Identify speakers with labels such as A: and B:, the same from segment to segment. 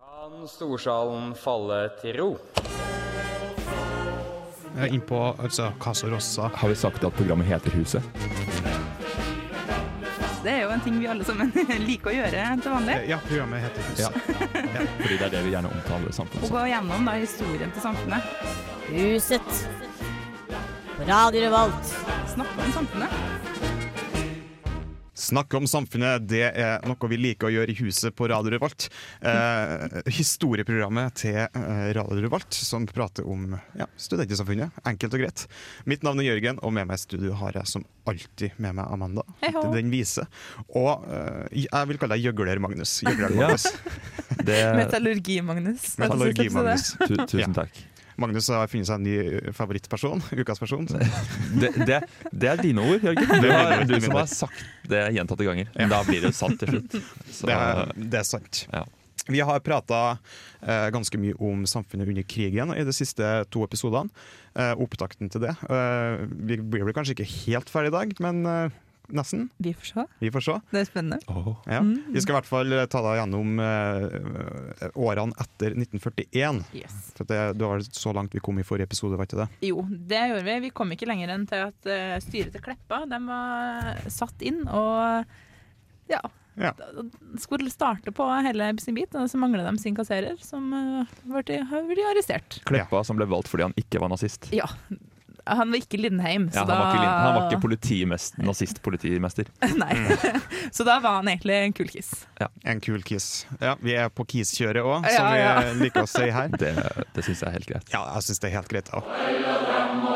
A: kan storsalen falle til ro.
B: Jeg er innpå altså, Casa Rossa.
C: Har vi sagt at programmet heter Huset?
D: Det er jo en ting vi alle sammen liker å gjøre til vanlig.
B: Eh, Ja, programmet heter Hus.
C: Ja. Fordi det er det vi gjerne omtaler samfunnet
D: Å
C: som.
D: gå gjennom da, historien til samfunnet.
E: Huset. På Radio Revolt.
D: Snakke om samfunnet.
B: Snakk om samfunnet, det er noe vi liker å gjøre i huset på Radio Revolt. Eh, historieprogrammet til eh, Radio Revolt, som prater om ja, studentsamfunnet. Enkelt og greit. Mitt navn er Jørgen, og med meg i studio har jeg som alltid med meg Amanda.
D: Hei, ho.
B: Den vise. Og eh, jeg vil kalle deg Gjøgler-Magnus. Gjøgler-Magnus.
C: Det,
F: Metallurgi-Magnus.
B: Metallurgi-Magnus.
C: tu, tusen takk.
B: Magnus har funnet seg en ny eh, favorittperson. Ukas person.
C: Det, det, det er dine ord, Jørgen. Du,
B: Det er mine
C: har,
B: ord,
C: du
B: mine
C: som
B: ord.
C: har sagt det gjentatte ganger. Men da blir det jo sant til slutt. Så,
B: Det er, det er sant.
C: Ja.
B: Vi har prata eh, ganske mye om samfunnet under krigen i de siste to episodene. Eh, opptakten til det. Eh, vi blir vel kanskje ikke helt ferdig i dag, men eh, nesten.
F: Vi får se.
B: Vi får se.
F: Det er spennende.
C: Åh.
B: Ja. Vi skal i hvert fall ta deg gjennom eh, årene etter 1941. For det, det var så langt vi kom i forrige episode, var ikke det?
D: Jo, det gjorde vi. Vi kom ikke lenger enn til at eh, styret til Kleppa de var satt inn og ja,
B: Ja.
D: da- skulle starte på hele sin bit. Og så manglet de sin kasserer, som eh, ble, har blitt arrestert.
C: Kleppa som ble valgt fordi han ikke var nazist.
D: Ja, han var ikke Lindheim,
C: Ja,
D: så
C: han,
D: da
C: var ikke, lin- han var ikke politimest, nazist-politimester.
D: Nei.
C: Mm.
D: Så da var han egentlig en kulkis.
B: En kul kiss. Ja, vi er på kiss-kjøret òg,
D: Ja,
B: som vi
D: ja.
B: eh, liker å si her.
C: Det, det syns jeg er helt greit.
B: Ja, jeg syns det er helt greit. Ja.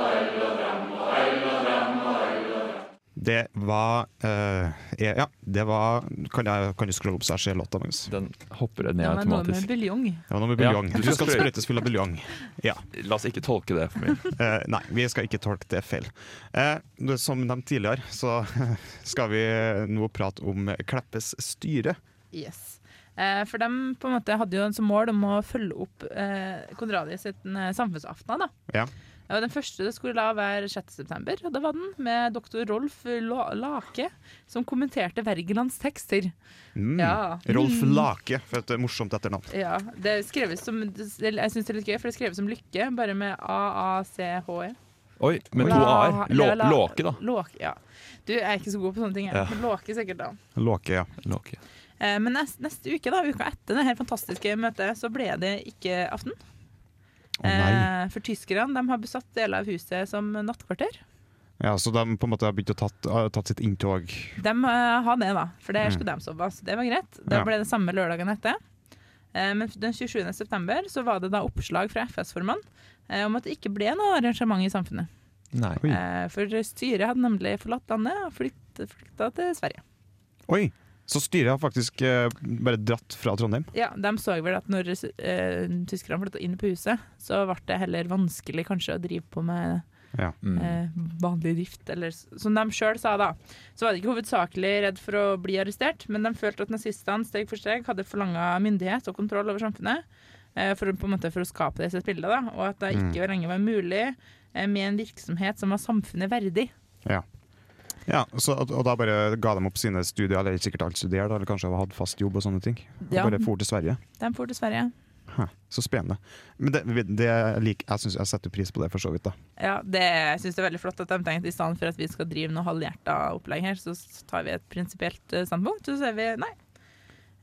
B: Det var eh, Ja, det var Kan, jeg, kan du scrolle opp så jeg ser låta, Magnus?
C: Den hopper ned
D: Det var noe med
C: automatisk.
D: buljong.
B: Det var noe med
C: Ja,
B: buljong.
C: du
B: du
C: skal
B: skal
C: sprøyte.
B: sprøytes full av buljong. Ja.
C: La oss ikke tolke det for mye.
B: Eh, nei, vi skal ikke tolke det feil. Eh, det, som nevnt tidligere, så skal vi nå prate om Kleppes styre.
D: Yes. Eh, for de på en måte hadde jo en som mål om å følge opp eh, Konradi sitt eh, samfunnsaften. da.
B: Ja.
D: Ja, den første det skulle la være 6.9., og det var den, med doktor Rolf La Lake, som kommenterte Wergelands tekster.
B: Mm.
D: Ja.
B: Rolf Lake, for et morsomt etternavn.
D: Ja, det skreves som Jeg syns det er litt gøy, for det skreves som lykke, bare med A-A-C-H-E.
C: Oi, med to a-er. Lå, låke, da.
D: Låke, ja. Du jeg er ikke så god på sånne ting, jeg.
C: Ja.
D: Men Låke sikkert, da.
B: Låke, ja.
C: Låke.
D: Eh, Men neste, neste uke, da, uka etter det her fantastiske møtet, så ble det ikke aften.
B: Å nei.
D: Eh, For tyskerne de har besatt deler av huset som nattkvarter.
B: Ja, Så de på en måte har begynt å tatt, har tatt sitt inntog
D: De eh, har det, da. For der skulle de sove. Så det var greit. Det
B: Mm. Ja.
D: ble det samme lørdagen etter. Eh, Men den 27. september så var det da oppslag fra FS-formann eh, om at det ikke ble noe arrangement i samfunnet.
C: Nei.
B: Oi.
D: Eh, For styret hadde nemlig forlatt landet og flytt- flykta til Sverige.
B: Oi, så styret har faktisk eh, bare dratt fra Trondheim.
D: Ja, De så vel at når eh, tyskerne flytta inn på huset, så ble det heller vanskelig kanskje å drive på med
C: Mm.
D: eh, vanlig drift, eller s- som de sjøl sa da. Så var de ikke hovedsakelig redd for å bli arrestert, men de følte at nazistene steg for steg hadde forlanga myndighet og kontroll over samfunnet. eh, For, å- på en måte for å skape det sitt bilde, da. Og at det
B: Mm.
D: ikke lenger var mulig eh, med en virksomhet som var samfunnet verdig.
B: Ja, så, og, og da bare ga de opp sine studier, eller sikkert alt studert, eller kanskje hadde fast jobb og sånne ting. Og
D: Ja.
B: Bare for til Sverige.
D: De for til Sverige.
B: Hæ, så spennende. Men det, det lik, jeg synes jeg setter pris på det, for så vidt. da.
D: Ja, det, jeg synes det er veldig flott at de tenkte i stedet for at vi skal drive noe halvhjerta opplegg her, så s- tar vi et prinsipielt eh, standpunkt, og så sier vi nei.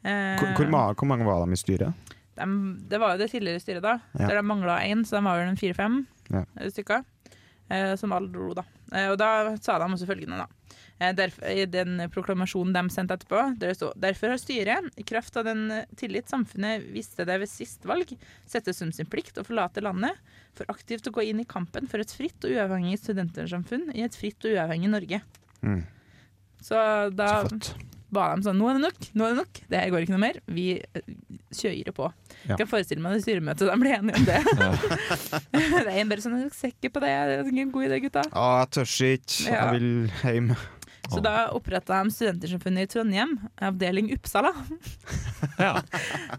D: Eh,
B: Hvor, hvor, ma- hvor mange var de i styret?
D: de, det var jo det tidligere styret, da.
B: Ja.
D: Der de mangla én, så de var vel en fire-fem
B: Ja.
D: eh, stykker. Eh, som alle dro, da. Eh, og da sa de også følgende, da. Eh, derf, I den proklamasjonen de sendte etterpå, der det sto derfor har styret, i kraft av den eh, tillit samfunnet viste det ved sist valg, settes som sin plikt å forlate landet for aktivt å gå inn i kampen for et fritt og uavhengig studentsamfunn i et fritt og uavhengig Norge.
B: Mm.
D: Så da
B: Så flott.
D: ba dem sånn Nå er det nok! Nå er det nok! Det her går ikke noe mer. Vi eh, kjører på.
B: Ja.
D: Jeg kan forestille meg det styremøtet de ble enige om det. det er en bare sånn Jeg er sikker på det. Det er ikke en god idé, gutta.
B: Å, jeg tør ikke.
D: Ja.
B: Jeg vil hjem.
D: Så da oppretta de Studentersamfunnet i Trondheim, avdeling Uppsala.
C: Ja.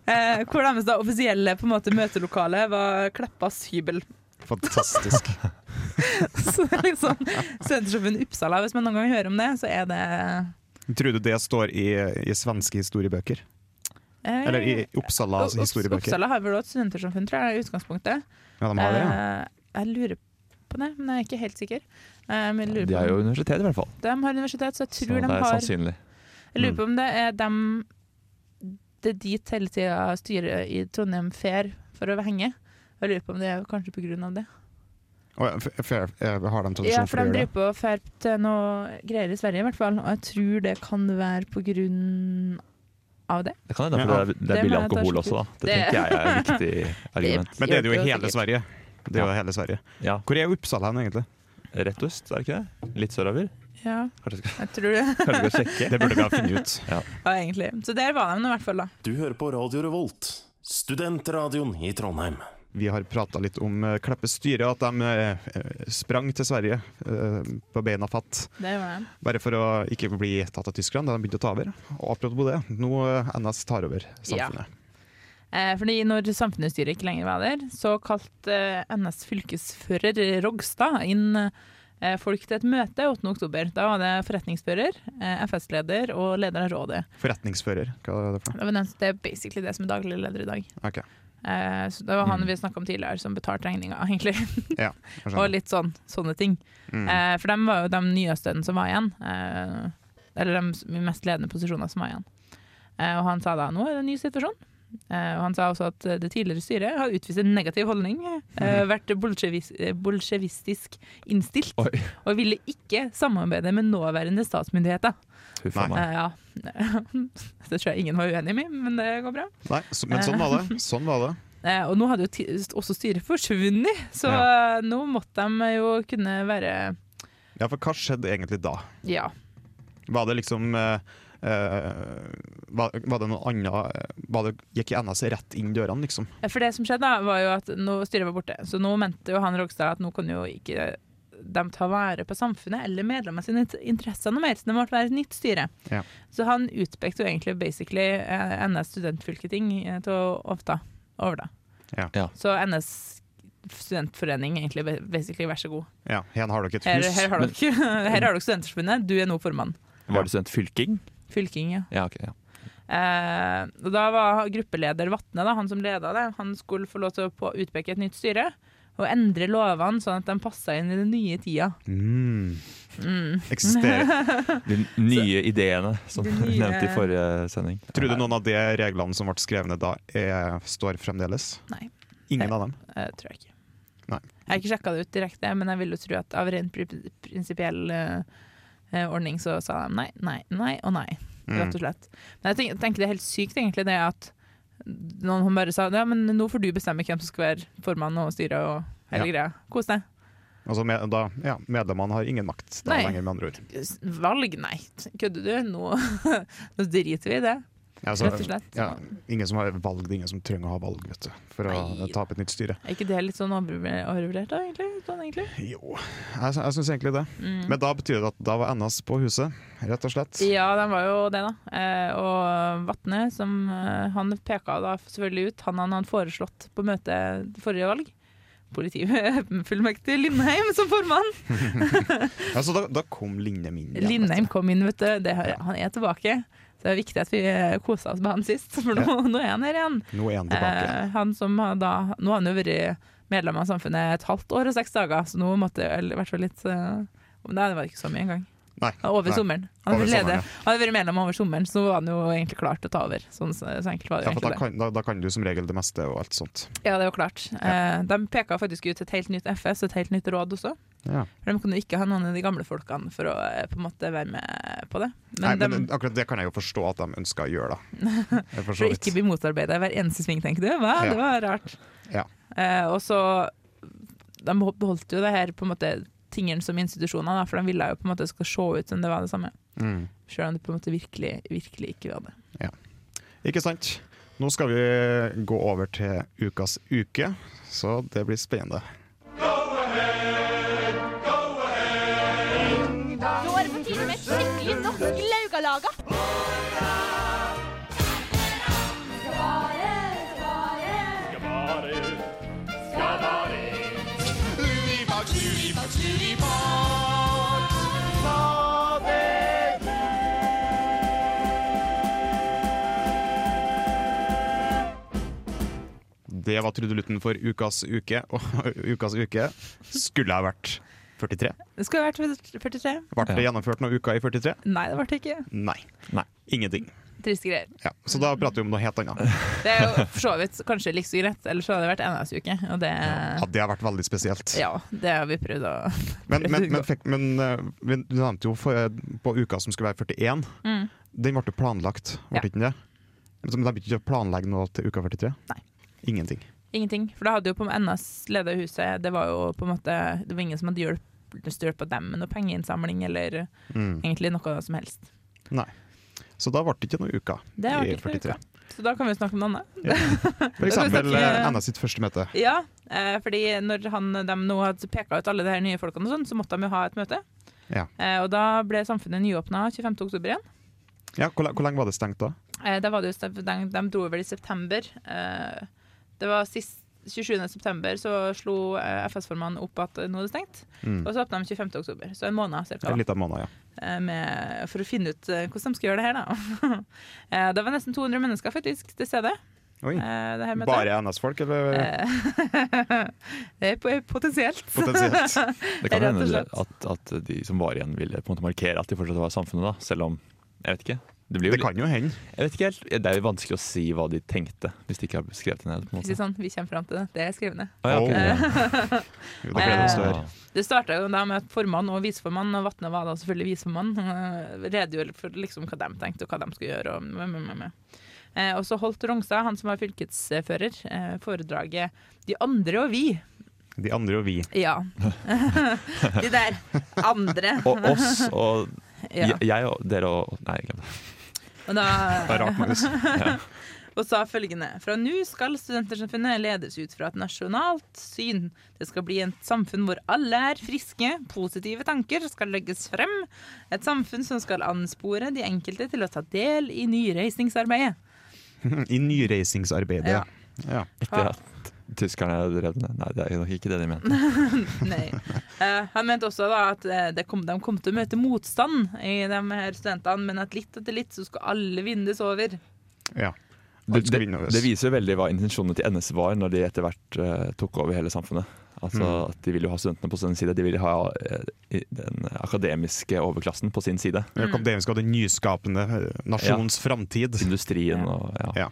D: Eh, hvor deres da offisielle på en måte, møtelokale var Kleppas hybel.
B: Fantastisk.
D: Så det er liksom Studentersamfunnet Uppsala, hvis man noen gang hører om det, så er det
B: Tror du det står i, i svenske historiebøker?
D: Eh,
B: Eller i Oppsala
D: Ops-
B: historiebøker.
D: Oppsala har vel også et studentersamfunn, tror jeg, i utgangspunktet.
B: Ja, de har det, ja.
D: Eh, jeg lurer på det, men jeg er ikke helt sikker. Eh, men jeg lurer
C: De
D: på
C: er
D: om-
C: jo universitet, i hvert fall.
D: De har universitet, så jeg
C: Så
D: tror
C: det
D: de
C: er Mm.
D: har
C: sannsynlig.
D: Jeg lurer på om det er dem Det er dit hele tida styret i Trondheim fer for å henge. Jeg lurer på om det er kanskje på grunn av det.
B: Og, ja, f- fair, eh, har de tradisjon
D: Ja, for
B: for å
D: de
B: gjøre det?
D: driver på og fer til noe greier i Sverige, i hvert fall. Og jeg tror det kan være på grunn av det.
C: Det kan hende, for det er, det
D: Det
C: er billig
D: må jeg ta
C: alkohol
D: slik
C: også, da. Det
D: Det-
C: tenker jeg er et viktig argument.
B: Men det er det jo i
D: Hjelper jo
B: hele
D: sikkert.
B: Sverige. Det er jo hele Sverige.
C: Ja,
B: Hvor er Uppsala hen, egentlig?
C: Rett øst, er det ikke det? Litt sørover?
D: Ja,
C: Kanskje jeg skal,
D: jeg tror det.
C: kanskje jeg skal sjekke?
B: Det burde vi ha funnet ut.
D: Ja, egentlig. Så der var de nå i hvert fall, da.
F: Du hører på Radio Revolt, studentradioen i Trondheim.
B: Vi har prata litt om eh, Kleppe styre, at de eh, sprang til Sverige eh, på beina fatt.
D: Det var de.
B: Bare for å ikke bli tatt av Tyskland, da de begynte å ta over. Og apropos det, nå eh, NS tar over samfunnet.
D: Eh, fordi når samfunnsstyret ikke lenger var der, så kalte eh, NS fylkesfører Rogstad inn eh, folk til et møte 8. oktober. Da var det forretningsfører, eh, FS-leder og leder av rådet.
B: Forretningsfører, hva er det for noe?
D: Det, var den, det er basically det som er daglig leder i dag.
B: Ok,
D: Eh, så det var han vi snakka om tidligere, som betalte regninga, egentlig.
B: ja, jeg
D: og
B: skjønner.
D: litt sånn, sånne ting.
B: Mm.
D: Eh, for dem var jo de nyeste som var igjen. Eh, eller de s- mest ledende posisjoner som var igjen. Eh, og han sa da nå er det en ny situasjon. Eh, og han sa også at eh, det tidligere styret har utvist en negativ holdning. Eh, vært bolsjevis eh, bolsjevistisk innstilt.
C: Oi.
D: Og ville ikke samarbeide med nåværende statsmyndigheter.
C: Huff a
B: Nei.
C: meg.
D: Eh, ja. det tror jeg ingen var uenig i, men det går bra.
B: Nei, så, men sånn var det. Sånn var det.
D: Eh, og nå hadde jo ti- også styret forsvunnet, så eh, nå måtte de jo kunne være
B: Ja, for hva skjedde egentlig da?
D: Ja.
B: Var det liksom eh, eh, var, var det noe annet eh, var det, Gikk NS rett inn dørene, liksom?
D: For det som skjedde, da, var jo at nå styret var borte. Så nå mente jo han Rogstad at nå kan jo ikke de ta vare på samfunnet eller medlemmene sine int- interesser noe mer. Så det måtte være et nytt styre.
B: Ja.
D: Så han utpekte jo egentlig basically eh, NS studentfylketing eh, til å overta. overta.
B: Ja.
C: Ja.
D: Så NS studentforening egentlig ba- basically vær så god.
B: Ja, her har dere et
D: Her,
B: hus.
D: her har
C: men-
D: dere, her har dere Studenterforbundet, du er nå formann.
C: Var det studentfylking?
D: Fylking, ja.
C: Ja, ok. Ja.
D: Eh, og da var gruppeleder Vatne, da, han som leda det, han skulle få lov til å på- utpeke et nytt styre. Og endre lovene sånn at de passa inn i den nye tida.
B: Mm. Eksisterer.
C: De nye ideene som
D: De
C: du
D: nye-
C: nevnte i forrige sending.
B: Tror du noen av de reglene som ble skrevet ned da, er, står fremdeles?
D: Nei,
B: Ingen av dem?
D: eh, tror jeg ikke.
B: Nei.
D: Jeg har ikke sjekka det ut direkte, men jeg vil jo tro at av rent pri- prinsipiell eh, eh, ordning så sa de nei, nei, nei og nei.
B: Mm.
D: Rett og slett. Men jeg tenker, tenker det er helt sykt, egentlig, det at noen bare sa ja, men nå får du bestemme hvem som skal være formann og styre og hele greia. Kos deg.
B: Altså med, da, ja, medlemmene har ingen makt da,
D: Nei.
B: lenger, med andre ord.
D: Valg, nei. Kødder du? Nå, nå driter vi i det,
B: Altså,
D: rett og slett.
B: ja, ingen som har valg, ingen som trenger å ha valg vet du, for å
D: Nei.
B: ta opp et nytt styre.
D: Er ikke det litt sånn overvurdert, overvurdert da, egentlig? Sånn, egentlig? Mm.
B: Jo, jeg, sy- jeg syns egentlig det. Men da betyr det at da var NS på huset, rett og slett.
D: Ja, den var jo det, da. Eh, og Vatne, som eh, han peka da selvfølgelig ut, han han hadde foreslått på møtet forrige valg. Politifullmektig Lindheim som formann.
B: Altså, da, da kom Lindheim inn. igjen, vet du.
D: Lindheim kom inn, vet du. Det, har- han er tilbake. Så det er viktig at vi eh, kosa oss med han sist, for nå, nå er han her igjen.
B: Nå er han tilbake.
D: Eh, han som har da, nå har han jo vært medlem av samfunnet et halvt år og seks dager, så nå måtte eller i hvert fall litt eh, Nei, det var ikke så mye engang.
B: Nei,
D: Over
B: nei.
D: sommeren. Han
B: Over
D: hadde,
B: sommeren, ja.
D: leder, han hadde vært medlem over sommeren, så nå var han jo egentlig klar til å ta over. Sånn, så, så enkelt var det
B: Ja,
D: jo
B: for da
D: egentlig.
B: kan, da, da kan du som regel det meste og alt sånt.
D: Det. Ja, det var klart. Eh, de peka faktisk ut et helt nytt FS og et helt nytt råd også.
B: Ja.
D: For De kunne jo ikke ha noen av de gamle folkene for å eh, på en måte være med på det. Men,
B: Nei, men
D: de,
B: akkurat det kan jeg jo forstå at de ønsker å gjøre, da. Jeg
D: For
B: forstår
D: å ikke bli motarbeida i hver eneste sving, tenker du? Hva?
B: Ja.
D: Det var rart.
B: Ja.
D: Eh, og så De beholdt jo det her på en måte tingene som institusjoner, da, for de ville jo på en måte skal se ut som det var det samme.
B: Mm.
D: Selv om det på en måte virkelig, virkelig ikke var det.
B: Ikke sant? Nå skal vi gå over til ukas uke, så det blir spennende.
G: Nå er det på tide med et skikkelig norsk laugalaga.
B: Det var trudelutten for ukas uke, og ukas uke skulle ha vært 43.
D: Det skulle vært 43.
B: Ble det
C: Ja.
B: gjennomført noe uka i 43?
D: Nei, det ble det ikke.
B: Nei.
C: Nei.
B: Ingenting.
D: Triste greier.
B: Ja, så da prater vi om noe helt annet.
D: Det er jo for så vidt kanskje like så greit, ellers hadde det vært NS-uke. Og det,
B: Ja, det har vært veldig spesielt.
D: ja, det har vi prøvd å
B: Men, men, men, fikk, men eh, vi du nevnte jo for, eh, på uka som skulle være 41.
D: mm.
B: Den ble jo planlagt, ble
D: Ja.
B: ikke den det? Altså, men De begynte ikke å planlegge noe til uka 43?
D: Nei.
B: Ingenting.
D: Ingenting. For det hadde jo på NS leda huset, det var jo på en måte Det var ingen som hadde hjulpet hjulpet dem med noe pengeinnsamling eller
B: Mm.
D: egentlig noe som helst.
B: Nei. Så da ble det ikke noe uka
D: Det har
B: i
D: vært ikke
B: 43.
D: noe uka. Så da kan vi jo snakke om noe annet.
B: For
D: Da kan vi
B: eksempel
D: snakke-
B: eh, NS sitt første møte.
D: Ja, eh, fordi når han, de nå hadde peka ut alle de her nye folkene, og sånn, så måtte de jo ha et møte.
B: Ja.
D: Eh, og da ble samfunnet nyåpna 25. oktober igjen.
B: Ja, hvor, le- hvor lenge var det stengt da?
D: Eh, da var det jo, sep- de, de dro vel i september. Eh, det var sist 27. september så slo eh, FS-formannen opp at nå er det stengt.
B: Mm.
D: Og så åpna de 25. oktober, så en måned cirka.
B: En liten måned, ja.
D: eh, med, for å finne ut eh, hvordan de skal gjøre det her, da. eh, det var nesten 200 mennesker faktisk til stede.
B: Oi.
D: Eh, det her møtet.
B: Bare NS-folk, eller
D: Eh, det er po- potensielt.
B: potensielt?
C: Det kan
D: Rett og
C: hende
D: slett.
C: at, at de som var igjen, ville på en måte markere at de fortsatt var i samfunnet, da. Selv om Jeg vet ikke. Det, blir jo,
B: Det kan jo hende.
C: Jeg vet ikke helt. Det er jo vanskelig å si hva de tenkte, hvis de ikke har skrevet det ned. på en
D: Ikke si
C: måte.
D: sånn, vi kommer fram til det. Det er skrevne.
C: Å, ja, ok.
B: Jo, Da ble det
D: Eh,
B: større.
D: Det starta jo da med at formann og viseformann, og Vatne var da selvfølgelig viseformann, eh, redegjorde for liksom hva de tenkte og hva de skulle gjøre. Og, meh, meh, meh, meh. Eh, og så holdt Rongstad, han som var fylkesfører, eh, foredraget 'De andre og vi'.
B: De andre og vi.
D: Ja. De der andre.
C: Og oss og
D: Ja.
C: jeg, jeg og dere og Nei, glem det.
D: Og da
B: Det er rart, Magnus.
D: og sa følgende Fra nå skal Studentersamfunnet ledes ut fra et nasjonalt syn. Det skal bli et samfunn hvor alle er friske, positive tanker skal legges frem. Et samfunn som skal anspore de enkelte til å ta del i nyreisningsarbeidet.
B: I nyreisingsarbeidet.
D: Ja.
B: Ja.
C: Etter at tyskerne drev det. Nei, det er nok ikke det de mente.
D: Nei. Eh, han mente også da at eh, det kom, de kom til å møte motstand i de her studentene, men at litt etter litt så skal alle vindes over.
B: ja.
C: Det,
B: Alt skal
C: det,
B: vinne over oss.
C: det viser jo veldig hva intensjonene til NS var når de etter hvert eh, tok over hele samfunnet. Altså
B: Mm.
C: at De ville jo ha studentene på sin side, de ville ha eh, i- den akademiske overklassen på sin side.
B: Det
D: Mm.
B: kom det vi skal ha den nyskapende eh, nasjons framtid.
C: Industrien og ja.
B: Ja.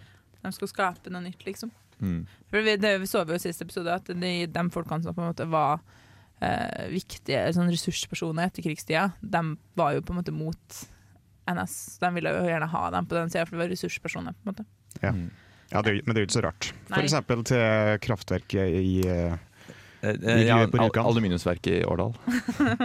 D: De skal skape noe nytt, liksom.
C: Mm.
D: For vi, det, vi så jo i siste episode at de, de folkene som på en måte var eh, viktige sånn ressurspersoner etter krigstida, de var jo på en måte mot NS. De ville jo gjerne ha dem på den sida, for de var ressurspersoner. på en måte.
B: Ja.
C: Mm.
B: Ja, det, er jo- men det er jo ikke så rart.
D: Nei.
B: For eksempel til eh, kraftverket i eh,
C: Eh, eh,
B: Vi
C: ja,
B: gruer på
C: al-
B: Rjukan.
C: Aluminiumsverket i Årdal.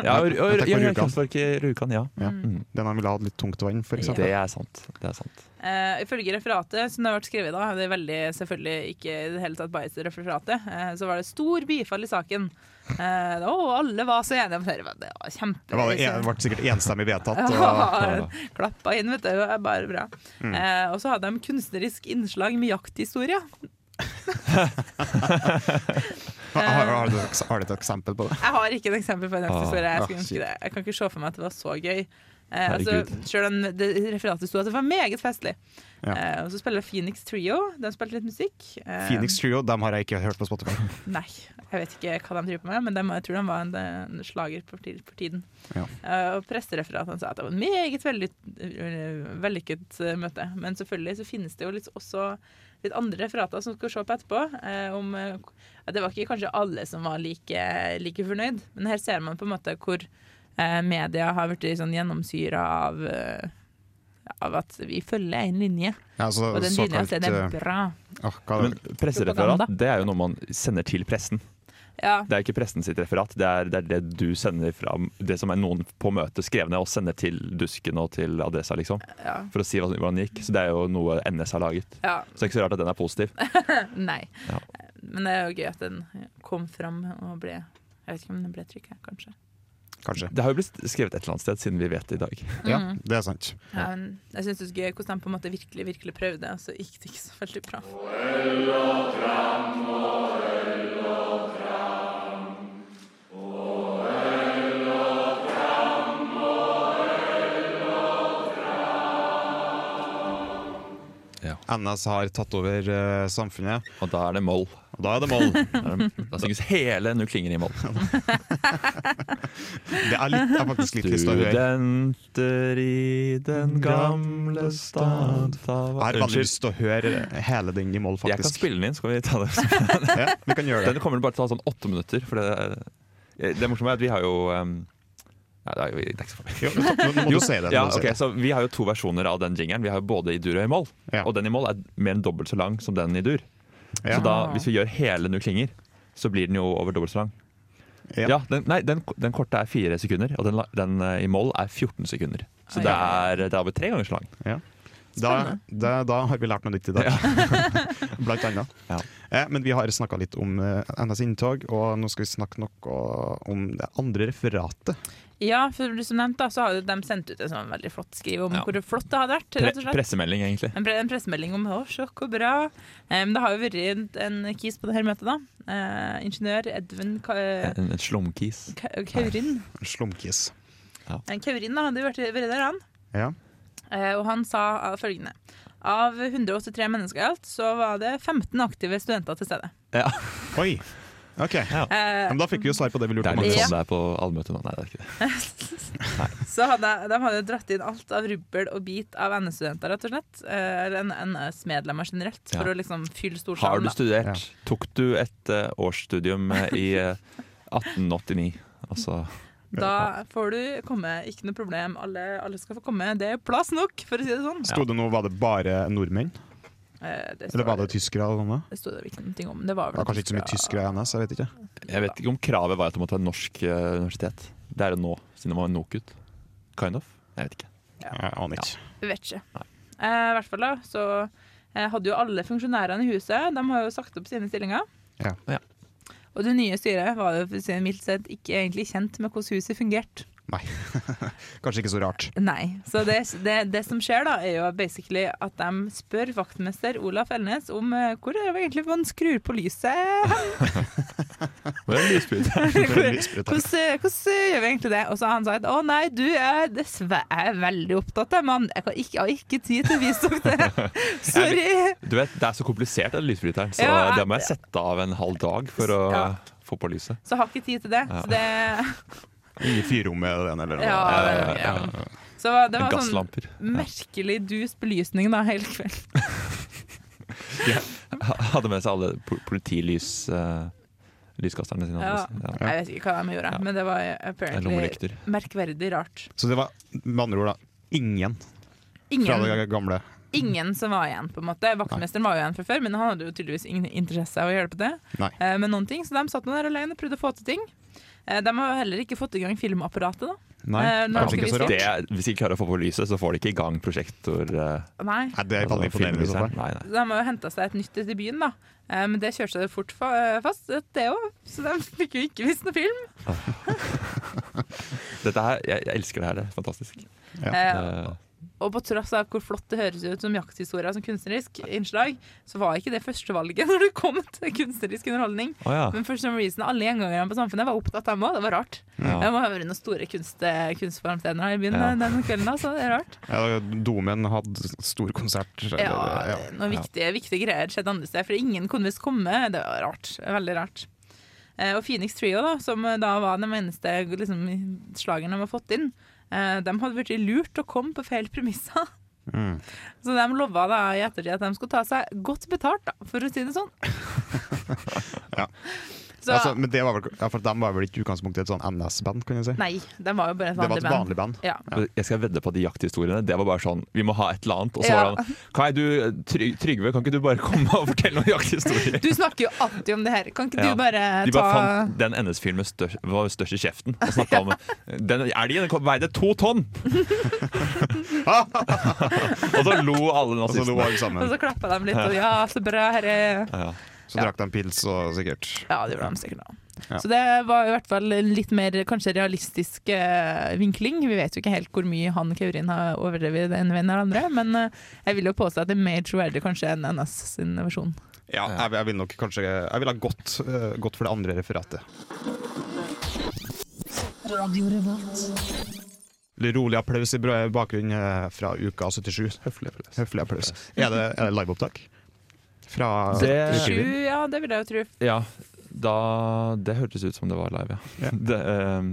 C: ja, og, og,
B: tenk på
C: ja, ja,
B: Rjukan.
C: kraftverket i Rjukan, ja.
B: ja.
C: Mm.
B: Den han ville ha litt tungt vann, for eksempel.
C: Det er sant. Det er sant.
D: Eh, ifølge referatet som det har vært skrevet da, det er veldig selvfølgelig ikke i det hele tatt bias i referatet, eh, så var det stor bifall i saken. Eh, å, alle var så enige om det. Det var kjempe...
B: Det var det en- ble sikkert enstemmig vedtatt. Og,
D: Ja, klappa inn, vet du. Det er bare bra.
B: Mm.
D: Eh, og så hadde de kunstnerisk innslag med jakthistorie.
B: har, har, har, du, et- har du et eksempel på det?
D: Jeg har ikke et eksempel på en jakthistorie. Jeg, skulle
B: ah,
D: ønske det. jeg kan ikke se for meg at det var så gøy. Eh, altså,
C: Herregud.
D: selv om det i referatet sto at det var meget festlig.
B: Ja.
D: Eh, og så spiller Phoenix Trio. De spilte litt musikk. Eh,
B: Phoenix Trio dem har jeg ikke hørt på Spotify.
D: Nei, jeg vet ikke hva de driver på med, men dem- jeg tror de var en, en slager på, ti- på tiden.
B: Ja.
D: Eh, og pressereferatene sa at det var et meget vellyk- øh, vellykket eh, møte. Men selvfølgelig så finnes det jo litt, også litt andre referater som vi skal se på etterpå. eh, om, eh, at det var ikke kanskje alle som var like, like fornøyd, men her ser man på en måte hvor eh, media har blitt sånn gjennomsyra av, eh, av at vi følger en linje,
B: Ja, så,
D: og den linja
B: såkalt,
D: så den er
B: eh,
D: bra.
B: ah, hva,
C: Men pressereferat
D: Propaganda.
C: det er jo noe man sender til pressen.
D: Ja,
C: Det er ikke pressen sitt referat, det er, det er det du sender fra Det som er noen på møtet skrev ned og sender til dusken og til adressa, liksom.
D: ja,
C: For å si hva- hvordan det gikk. Så det er jo noe NS har laget.
D: ja.
C: Så det er ikke så rart at den er positiv.
D: Nei.
C: Ja.
D: Men det er jo gøy at den kom fram og ble Jeg vet ikke om den ble trykket, kanskje.
B: kanskje.
C: Det har jo blitt skrevet et eller annet sted siden vi vet det i dag.
D: Mm.
B: Ja, det er sant.
D: Ja, men jeg syns det er gøy hvordan de på en måte virkelig virkelig prøvde, og så gikk det ikke så veldig bra.
C: Ja.
B: NS har tatt over eh, samfunnet,
C: Og da er det moll.
B: og da er det moll.
C: Da er det- da synges hele Nu klinger i moll.
B: Det er, litt, det er faktisk litt lyst til å høre.
C: Studenter i den gamle stad
B: Jeg har veldig
C: Unnskyld.
B: lyst til å høre hele den i moll,
C: Jeg kan
B: faktisk.
C: spille den inn, skal vi ta det?
B: Ja, vi kan gjøre
C: Den
B: det.
C: kommer bare til å ta sånn åtte minutter. For det, er- eh, det morsomme er at vi har jo um, Nei, det er jo det er ikke så farlig.
B: Jo, nå nå må du
C: Jo,
B: si det. nå
C: Ja,
B: må du si
C: ok,
B: det.
C: så Vi har jo to versjoner av den jingeren. Vi har jo både i dur og i moll.
B: Ja.
C: Og den i moll er mer enn dobbelt så lang som den i dur.
B: Ja.
C: Så da, hvis vi gjør hele Nu klinger, så blir den jo over dobbelt så lang.
B: Ja.
C: Ja, den, Nei, den, den korte er fire sekunder, og den, la- den eh, i moll er 14 sekunder. Så
D: Oi.
C: det er, det er over tre ganger så lang.
B: Da, da, da har vi lært noe nytt i dag. Blant annet.
C: Ja.
B: Eh, men vi har snakka litt om eh, NS inntog, og nå skal vi snakke noe om det andre referatet.
D: Ja, for som nevnt da, så har jo de sendt ut en sånn veldig flott skriv om
C: Ja.
D: hvor flott det hadde vært.
C: Pre
D: rett og slett.
C: pressemelding, egentlig.
D: En, pre en pressemelding om å, sjokk hvor bra. Em, det har jo vært en, en kis på det her møtet, da. Eh, ingeniør Edvin Ka
C: En, en slumkis.
D: Ka Kaurin.
B: Slumkis.
D: Eh, Kaurin da, hadde jo vært, vært der, han.
B: Ja.
D: Eh, og han sa av følgende. Av 183 mennesker i alt, så var det 15 aktive studenter til stede.
C: Ja.
B: Oi! OK.
D: Eh,
B: Men da fikk vi jo svar på det vi
C: Det
B: lurte
C: er
B: på. Liksom,
C: litt
D: Ja.
C: sånn det er på allmøtet nå. Nei, det er ikke det.
D: Så hadde, de hadde dratt inn alt av rubbel og bit av NS-studenter, rett og slett. eh, Eller NS-medlemmer generelt, for
C: Ja.
D: å liksom fylle
C: Har
D: storsalen.
C: du
D: da.
C: studert?
B: Ja.
C: Tok du et eh, årsstudium eh, i eh, 1889? Altså
D: Da får du komme, ikke noe problem. Alle, alle skal få komme. Det er plass nok, for å si det sånn.
B: Sto det nå, var det bare nordmenn?
D: Eh, Det
B: Eller var
D: står
B: det tyskere? Eller noe?
D: det sto det ikke noe om. Det var
B: Det
D: vel
B: var kanskje ikke så mye tyskere i NS, jeg vet ikke.
C: Jeg vet ikke om kravet var at du måtte ha norsk eh, universitet. Det er det nå, siden det var en NOKUT. Kind of. Jeg vet ikke.
B: Jeg aner ikke.
D: Jeg Vet ikke. Eh, I hvert fall da, så eh, hadde jo alle funksjonærene i huset De har jo sagt opp sine stillinger.
B: Ja.
C: Ja.
D: Og det nye styret var jo for å si det mildt sett ikke egentlig kjent med hvordan huset fungerte.
B: Nei. kanskje ikke så rart.
D: Nei. Så det, det, det som skjer, da, er jo basically at de spør vaktmester Olaf Elnes om eh, hvor er det egentlig man skrur på lyset.
C: Det er lysbryt.
B: Veldig sprøtt.
D: Hvordan, eh, hvordan gjør vi egentlig det? Og så har han sagt å nei, du er dessverre veldig opptatt av mann. Jeg kan ikke, jeg har ikke tid til å vise dere det. Sorry.
C: Du vet, Det er så komplisert, den lysbryteren, så
D: Ja,
C: det må jeg sette av en halv dag for å
D: Ja.
C: få på lyset.
D: Så jeg har ikke tid til det. Så det,
B: I fyrrommet den, eller noe.
D: ja, det, ja. Så det var
C: Eh,
D: sånn
C: Gasslamper.
D: merkelig dus belysning da, hele kvelden.
C: Ha- Hadde med seg alle po- politilys eh, lyskasterne sine.
D: Ja.
C: Ja.
D: Jeg vet ikke hva de gjorde,
C: Ja.
D: men det var apparently
C: Lommelykter.
D: merkverdig rart.
B: Så det var med andre ord da ingen fra
D: Ingen
B: det gamle.
D: ingen som var igjen, på en måte. Vaktmesteren var jo igjen fra før, men han hadde jo tydeligvis ingen interesse av å hjelpe til
B: Nei.
D: eh, med noen ting, så de satt nå der alene og prøvde å få til ting. Eh, de har jo heller ikke fått i gang filmapparatet, da.
B: Nei,
D: Eh, nå
B: kanskje
D: skal
B: ikke
D: vi
B: så
D: si-
B: rart.
C: Det, hvis de ikke klarer å få på lyset, så får de ikke i gang prosjektor. eh,
D: Nei.
B: Nei, det er
C: altså,
B: veldig imponerende. i så
C: filmlyseren.
B: fall.
C: Nei, nei.
D: Så de har jo henta seg et nytt til byen, da. Eh, men det kjørte seg jo fort fa eh, fast, det òg. Så de fikk jo ikke vist noe film.
C: Dette her, jeg, jeg elsker det her, det er fantastisk.
D: Eh,
C: Eh,
D: og på tross av hvor flott det høres ut som jakthistorier som kunstnerisk innslag, så var ikke det førstevalget når det kom til kunstnerisk underholdning.
C: Å ja.
D: Men for some reason, alle gjengangerne på Samfunnet var opptatt av meg. Det var rart. Det må ha vært noen store kunst, kunstformsteder her i byen
C: Ja.
D: den kvelden. da, Så det er rart.
B: Ja, Domen hadde stor konsert. eller-
D: Ja,
B: ja.
D: Noen viktige, viktige greier skjedde andre steder, for ingen kunne visst komme. Det var rart. Veldig rart. Eh, Og Phoenix Trio, da, som eh, da var den eneste liksom, slageren de har fått inn, eh, de hadde blitt lurt og kom på feil premisser.
B: Mm.
D: Så de lova da i ettertid at de skulle ta seg godt betalt, da, for å si det sånn.
B: Ja.
D: Så,
B: altså, men det var vel, ja, for de var vel ikke i utgangspunktet et sånn NS-band, kan jeg si.
D: Nei, de var jo bare et
B: det var
D: vanlig
B: et
D: band.
B: vanlig band.
D: Ja.
C: Jeg skal vedde på at de jakthistoriene Det var bare sånn Vi må ha et eller annet. Og så
D: Ja.
C: var han Kai, du, Try- Trygve, kan ikke du bare komme og fortelle noen jakthistorier?
D: Du snakker jo alltid om det her. Kan ikke
C: Ja.
D: du bare
C: De
D: ta
C: bare fant den NS-fyren med størst, var størst i kjeften. Og snakket om Den elgen den kom- veide to tonn! og så lo alle
B: Og så lo
C: nazistene.
B: alle
D: Og
B: sammen.
D: så klappa de litt, og ja, så bra, her er
C: Ja.
B: Så drakk de pils og sikkert
D: Ja, det gjorde de sikkert nå.
B: Ja.
D: Så det var i hvert fall en litt mer kanskje realistisk eh, vinkling. Vi vet jo ikke helt hvor mye han Kaurin har overdrevet den veien eller andre, men eh, jeg vil jo påstå at det er mer troverdig kanskje enn NS sin versjon.
B: Ja, jeg, jeg vil nok kanskje Jeg ville ha gått, eh, gått for det andre referatet. Litt rolig applaus i bra- bakgrunnen eh, fra uka 77.
C: Høflig applaus.
B: Høflig applaus. Er det, er det liveopptak? Fra
C: Det,
D: Sju, ja, det vil jeg jo tro.
C: ja, da, det hørtes ut som det var live, ja.
B: Ja.
C: Det, eh,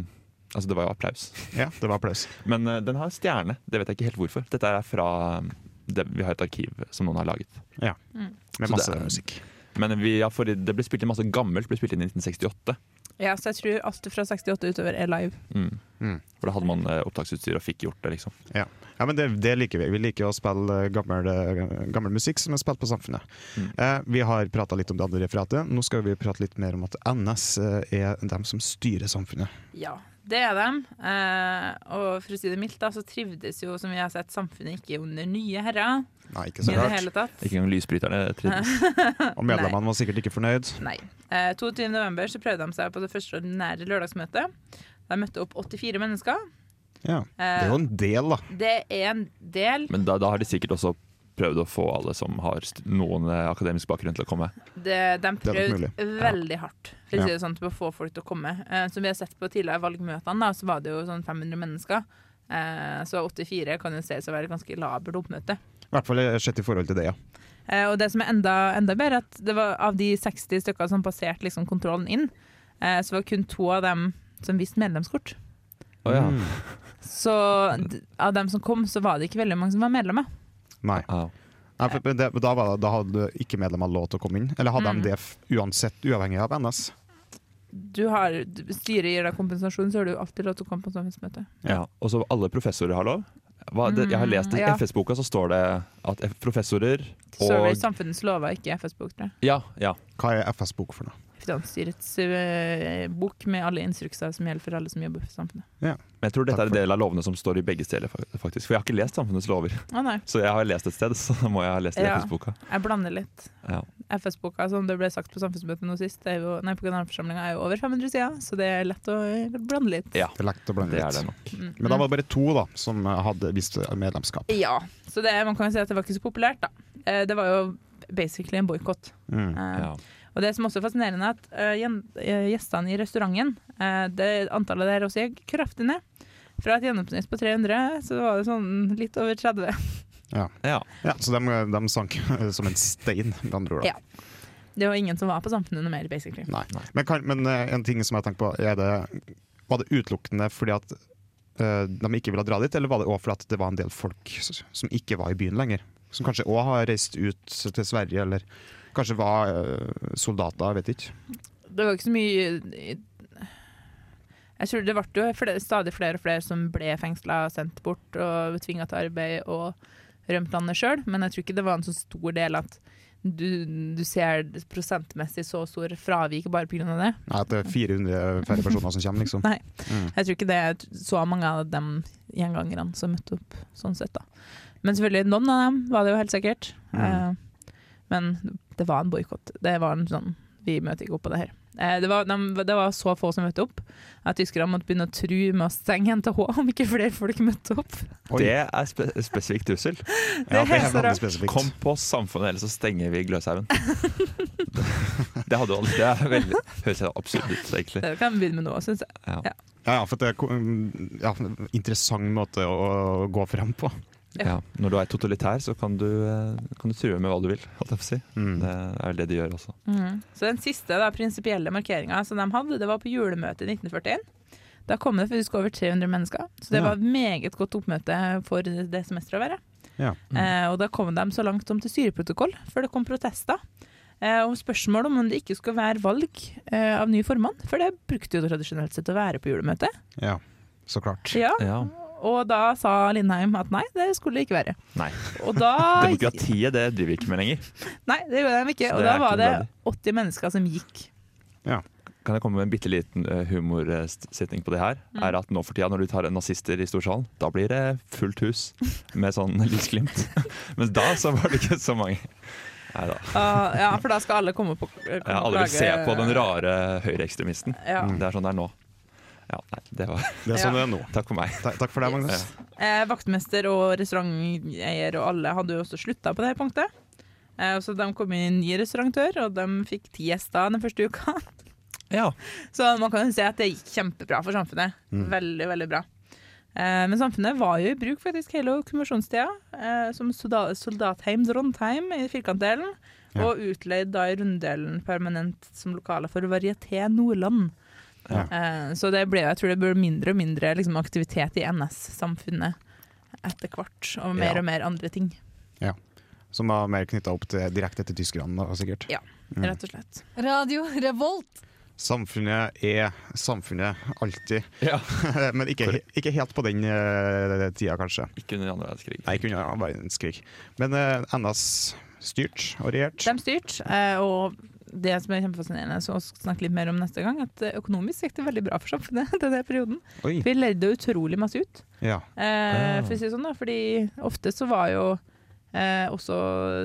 C: altså, det var jo applaus.
B: Ja, det var applaus.
C: Men eh, den har stjerne. Det vet jeg ikke helt hvorfor. Dette er fra eh, det, Vi har et arkiv som noen har laget.
D: Mm.
B: Med
C: Så det
B: masse
C: er-
B: musikk.
C: Men vi, ja, for det ble spilt inn masse gammelt. Ble spilt inn i 1968.
D: Ja, så jeg tror alt fra 68 utover er live.
C: Mm.
B: Mm.
C: For da hadde man eh, opptaksutstyr og fikk gjort det, liksom.
B: Ja, men det, det liker vi. Vi liker å spille eh, gammel, eh, gammel musikk som er spilt på Samfunnet.
C: Mm.
B: Eh, vi har prata litt om det andre referatet. Nå skal vi prate litt mer om at NS eh, er dem som styrer samfunnet.
D: Ja, det er dem. Eh, og for å si det mildt, da, så trivdes jo, som vi har sett, samfunnet ikke under nye herrer.
B: Nei, ikke
D: I
B: så
D: det
B: rart.
D: hele tatt.
C: Ikke engang lysbryterne trivdes.
B: Og medlemmene var sikkert ikke fornøyd.
D: Nei. Eh, 22. november så prøvde de seg på det første ordinære lørdagsmøtet. De møtte opp 84 mennesker.
B: Ja. Det
D: Eh,
B: er jo en del, da.
D: det er en del.
C: Men da, da har de sikkert også prøvd å få alle som har st noen eh, akademisk bakgrunn, til å komme.
D: Det, de
B: nok
D: prøvde
B: mulig.
D: veldig hardt for å
B: Ja.
D: si det sånn, til å få folk til å komme. Eh, som vi har sett på tidligere valgmøtene, da, så var det jo sånn 500 mennesker. Eh, så 84 kan jo ses å være et ganske labert oppmøte.
B: I hvert fall eh, sett i forhold til det, ja.
D: Eh, og det som er enda, enda bedre, at det var av de 60 stykker som passerte liksom, kontrollen inn, eh, så var kun to av dem som viste medlemskort.
C: Å ja.
B: Mm.
D: Så d av dem som kom, så var det ikke veldig mange som var medlemmer.
B: Nei.
C: Au.
B: Nei, for det, da, var det, da hadde ikke medlemmene lov til å komme inn? Eller hadde
D: Mm.
B: de det f- uansett, uavhengig av NS?
D: Du har, d- styret gir deg kompensasjon, så har du alltid lov til å komme på samfunnsmøte.
C: Ja, og så alle professorer har lov. Hva, det, jeg har lest i
D: Ja.
C: FS-boka så står det at F- professorer
D: Survey
C: og
D: samfunnets lover, ikke FS bok, tror jeg.
C: ja, ja.
B: Hva er FS bok for noe?
D: Finansstyrets eh, bok med alle instrukser som gjelder for alle som jobber for samfunnet.
C: Men jeg tror dette
B: Takk
C: er en
B: for-
C: del av lovene som står i begge steder, fa- faktisk. For jeg har ikke lest samfunnets lover.
D: Å nei,
C: Så jeg har lest et sted, så da må jeg ha lest det i
D: Ja.
C: FS-boka.
D: jeg blander litt.
C: Ja.
D: FS-boka, som det ble sagt på samfunnsmøtet nå sist, det er jo, nei, på generalforsamlinga er jo over 500 sider, så det er lett å eh, blande litt.
C: ja,
B: Det er lett å blande
C: det er det
B: litt.
C: nok.
D: Mm.
B: Men da var det bare to da, som eh, hadde vist medlemskap.
D: Ja, så det, man kan jo si at det var ikke så populært, da. Eh, Det var jo basically en boikott.
B: Mm.
D: Eh,
C: Ja.
D: Og det som også er fascinerende, er at eh, gjen- eh, gjestene i restauranten eh, det, Antallet der også gikk kraftig ned. Fra et gjennomsnitt på 300, så var det sånn litt over 30.
C: Ja.
B: Ja, så de, de sank eh, som en stein, med andre ord. da.
D: Ja. Det var ingen som var på Samfunnet noe mer, basically.
B: Nei. Men, kan, men eh, en ting som jeg tenker på, er det, var det utelukkende fordi at eh, de ikke ville dra dit, eller var det også fordi at det var en del folk s- som ikke var i byen lenger? Som kanskje også har reist ut til Sverige, eller kanskje var eh, soldater, jeg vet ikke.
D: Det var ikke så mye Jeg tror det ble jo fle- stadig flere og flere som ble fengsla, sendt bort og tvinga til arbeid og rømt landet sjøl, men jeg tror ikke det var en så stor del at du, du ser prosentmessig så stor fravik bare pga. det.
B: Nei, at det er 400 færre personer som kommer, liksom.
D: Nei.
B: Mm.
D: Jeg tror ikke det er så mange av de gjengangerne som møtte opp sånn sett, da. Men selvfølgelig, noen av dem var det jo helt sikkert.
B: Mm.
D: Eh, men det var en boikott. Det var en sånn Vi møter ikke opp på det her. Eh, det, var, de, det var så få som møtte opp at tyskerne måtte begynne å true med å stenge NTH om ikke flere folk møtte opp.
B: Oi.
C: Det er spe spesifikk trussel.
B: Ja, det
D: helt
B: er
D: så
B: veldig
D: rart.
B: spesifikt.
C: Kom på Samfunnet, ellers så stenger vi Gløshaugen. Det hadde jo aldri Det er veldig, høres helt absurd ut, egentlig.
D: Det kan vi begynne med nå, syns jeg.
B: Ja, ja, for det er ko- mm, ja, interessant måte å å gå frem på.
C: Ja. Når du er totalitær, så kan du, eh, kan du true med hva du vil, holdt jeg på å si.
B: Mm.
C: Det er vel det de gjør også.
D: Mhm. Så den siste da, prinsipielle markeringa som de hadde, det var på julemøtet i 1941. Da kom det faktisk over 300 mennesker, så det
B: Ja.
D: var et meget godt oppmøte for det semesteret å være.
B: Ja.
C: Mm.
D: Eh, og da kom de så langt som til styreprotokoll, før det kom protester. Eh, om spørsmålet om det ikke skulle være valg eh, av ny formann, for det brukte jo tradisjonelt sett å være på julemøte.
B: ja, så klart.
D: Ja,
C: Ja.
D: og da sa Lindheim at nei, det skulle det ikke være.
C: Nei.
D: Og da
C: Demokratiet, det driver vi ikke med lenger.
D: Nei, det gjorde de ikke.
C: Så
D: Og
C: det er
D: da var
C: ikke
D: det
C: noe bra.
D: 80 mennesker som gikk.
C: Kan jeg komme med en bitte liten eh, humorsetning på det her?
D: Mm.
C: Er at nå for tida Når du tar nazister i storsalen, da blir det fullt hus med sånn lysglimt. Mens da så var det ikke så mange. Nei da.
D: Ah, ja, for da skal alle komme på eh, komme
C: Jeg har
D: og
C: aldri
D: klage.
C: se på den rare høyreekstremisten.
D: Ja.
C: Det er sånn det er nå. Ja, nei, det var
B: Det er sånn det er nå.
C: Takk for meg.
B: Takk, takk for det, Magnus.
D: Eh, vaktmester og restauranteier og alle hadde jo også slutta på det punktet. Eh, så de kom inn en ny restauratør, og de fikk ti gjester den første uka.
C: Ja.
B: Mm.
D: Så man kan jo si at det gikk kjempebra for samfunnet. Veldig, veldig bra. Eh, Men samfunnet var jo i bruk faktisk hele okkupasjonstida, eh, som solda- soldatheim Trondheim i Firkantdelen,
B: Ja.
D: og utleid da i Runddelen permanent som lokale for Varieté Nordland.
B: Ja.
D: Eh, Så det ble, jeg tror det ble mindre og mindre liksom, aktivitet i NS-samfunnet etter hvert, og mer
B: Ja.
D: og mer andre ting,
B: Som var mer knytta opp til direkte til tyskerne, da, sikkert. Mm.
D: rett og slett.
G: Radio Revolt.
B: Samfunnet er samfunnet alltid,
C: Ja.
B: men ikke, he- ikke helt på den eh, tida, kanskje.
C: Ikke under andre verdenskrig.
B: Nei, ikke under verdenskrig. Men eh, NS styrt og regjert.
D: De styrt, eh, og det som er kjempefascinerende, så skal snakke litt mer om neste gang, at eh, økonomisk gikk det veldig bra for samfunnet denne perioden.
B: Oi.
D: Vi lærte utrolig masse ut.
B: Ja.
C: Ah.
D: Eh, for å si det sånn da, fordi ofte så var jo eh, også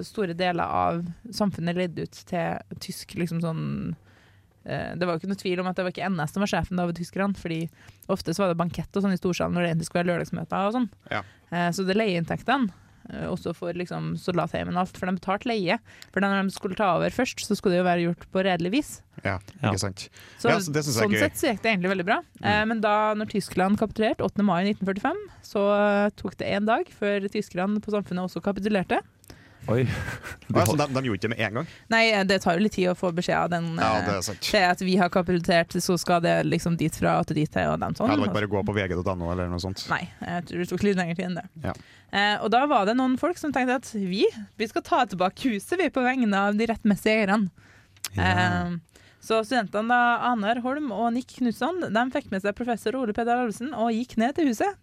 D: store deler av samfunnet ledd ut til tysk liksom sånn eh, det var jo ikke noe tvil om at det var ikke NS som var sjefen da over tyskerne, fordi ofte så var det bankett og sånn i storsalen når det egentlig skulle være lørdagsmøter og sånn.
B: Ja.
D: Eh, så det leieinntektene, eh, også for liksom soldatheimen og alt, for de betalte leie. For når de skulle ta over først, så skulle det jo være gjort på redelig vis.
B: ja,
C: Ja.
B: ikke sant.
D: Så,
B: Ja, så det synes jeg er
D: sånn
B: gøy. Mm.
D: sett så gikk det egentlig veldig bra. Eh, men da når Tyskland kapitulerte 8. mai 1945, så eh, tok det én dag før tyskerne på samfunnet også kapitulerte.
C: Oi. Du
B: Ah, så
C: holdt-
B: de, de gjorde ikke det med en gang?
D: Nei, eh, det tar jo litt tid å få beskjed av den.
B: Ja,
D: eh,
B: det er sant.
D: det at vi har kapitulert, så skal det liksom dit fra og til dit til og den
B: Ja,
D: sånn.
B: det var ikke bare å gå på vg.no eller noe sånt.
D: Nei, jeg tror det tok litt lengre tid enn det.
B: Ja.
D: Eh, og da var det noen folk som tenkte at vi, vi skal ta tilbake huset vi på vegne av de rettmessige eierne. Eh, så studentene da, Anar Holm og Nick Knutson de fikk med seg professor Ole Peder Alvesen og gikk ned til huset.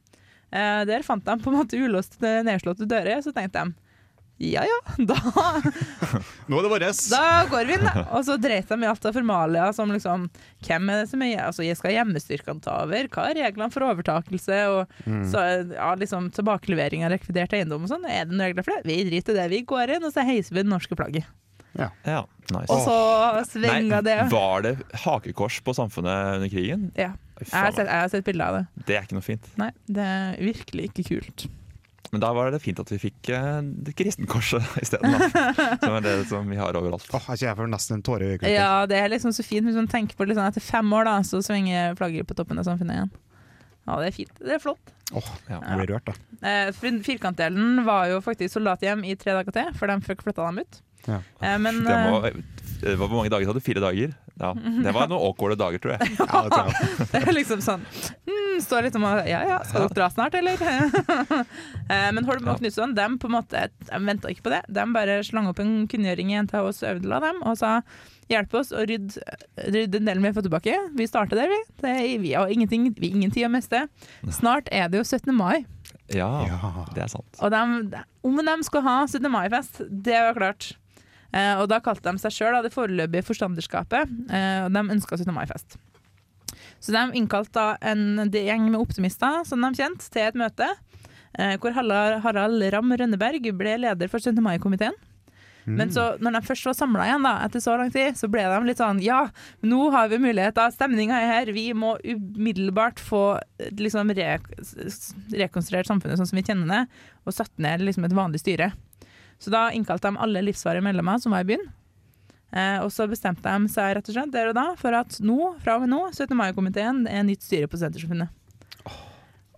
D: Eh, der fant de på en måte ulåst eh, nedslåtte dører, så tenkte de ja ja, da
B: Nå er det våres!
D: da går vi inn, da. Og så dreit de i alt av formalia som liksom Hvem er det som er Altså, jeg skal hjemmestyrkene ta over? Hva er reglene for overtakelse? Og så, ja, liksom tilbakelevering av rekvidert eiendom og sånn. Er det noen regler for det? Vi driter i det. Vi går inn, og så heiser vi det norske flagget.
C: Ja, nice.
D: Og så svinga det.
C: var det hakekors på samfunnet under krigen?
D: Ja.
C: Fy
D: Jeg har,
C: faen,
D: sett, jeg har sett bilder av det.
C: Det er ikke noe fint.
D: Nei, det er virkelig ikke kult.
C: Men da var det fint at vi fikk eh, det kristenkorset isteden. da. Som er det som vi har overalt.
B: Åh, jeg kjenner for nesten en tåre i øyekroken.
D: Ja, det er liksom så fint hvis man tenker på det liksom, etter fem år, da, så svinger flagget på toppen av samfunnet igjen. Ja, det er fint. Det er flott.
B: Åh,
C: Ja.
B: jeg blir rørt, da.
D: Eh, fir- Firkantdelen var jo faktisk soldathjem i tre dager til, for de fikk flytta dem ut.
B: Ja.
D: Eh, Men
C: Det, må, det var Hvor mange dager hadde du? Fire dager? Ja. Det var noen awkwarde dager, tror jeg.
B: Ja, det tror jeg.
D: eh, det er liksom sånn hmm, Står litt om å Ja ja, skal dere dra snart, eller? Eh, Men Holm og Knutson dem på en måte, de venta ikke på det. De bare slang opp en kunngjøring i NTH Øvdela dem og sa hjelp oss å rydde, rydde den delen vi har fått tilbake. Vi starter der, vi. Det er, vi har ingenting, vi har ingen tid å miste. Snart er det jo 17. mai.
C: Ja,
B: Ja.
C: det er sant.
D: Og de, om de skulle ha 17. mai-fest, det var klart. Eh, og da kalte de seg sjøl det foreløpige forstanderskapet, eh, og de ønska 17. mai-fest. Så de innkalte da en gjeng med optimister, som de kjente, til et møte. Eh, hvor Harald, Harald Ramm Rønneberg ble leder for 17. mai-komiteen. Men så, når de først var samla igjen, da, etter så lang tid, så ble de litt sånn Ja, nå har vi mulighet, da. Stemninga er her. Vi må umiddelbart få eh, liksom, re s- rekonstruert samfunnet sånn som vi kjenner det og satt ned liksom et vanlig styre. Så da innkalte de alle livsvarige medlemmer som var i byen. Eh, og så bestemte de seg rett og slett der og da for at nå, fra og med nå, 17. mai-komiteen er nytt styre på Sentersamfunnet.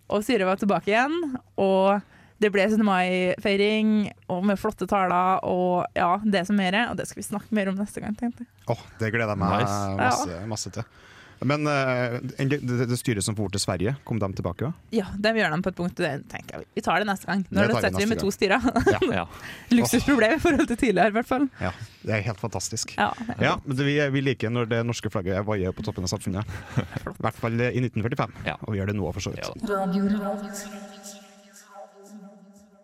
D: Og styret var tilbake igjen, og det ble 17. mai-feiring og med flotte taler og ja, det som mer er. Og det skal vi snakke mer om neste gang, tenkte jeg.
B: Åh, det gleder jeg meg
C: Nice.
B: masse, masse til. Men eh, en- det, det styret som for til Sverige, kom de tilbake? da?
D: Ja, det gjør de på et punkt. Det tenker jeg. Vi tar det neste gang.
B: Det
D: Når
B: tar
D: det
B: vi
D: setter vi
B: neste
D: med
B: gang.
D: to styrer.
C: Ja.
D: Luksusproblem i forhold til tidligere, i hvert fall.
B: Ja, det er helt fantastisk.
D: Ja,
B: Ja, men det, vi, vi liker når det norske flagget vaier på toppen av samfunnet. I hvert fall i 1945,
C: Ja.
B: og vi gjør det nå for så vidt.
C: Ja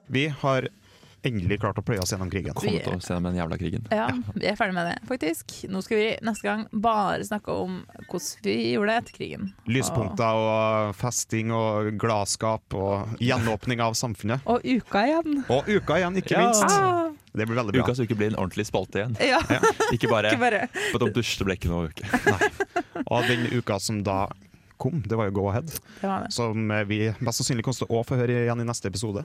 B: Vi har endelig klart å pløye oss gjennom krigen.
C: Kom til å se den jævla krigen.
D: Ja, vi er ferdig med det, faktisk. Nå skal vi neste gang bare snakke om hvordan vi gjorde det etter krigen.
B: Lyspunkter og festing og gladskap og gjenåpning av samfunnet.
D: Og uka igjen.
B: Og uka igjen, ikke
C: Ja.
B: minst.
D: Ah,
B: Det blir veldig bra.
C: Ukas uke blir en ordentlig spalte igjen.
D: ja,
C: Ikke bare
D: ikke bare
C: på et dusjeblekke noe uke.
B: Og den uka som da kom, det var jo Go Ahead,
D: Det var det.
B: som vi mest sannsynlig kommer til å få høre igjen i neste episode.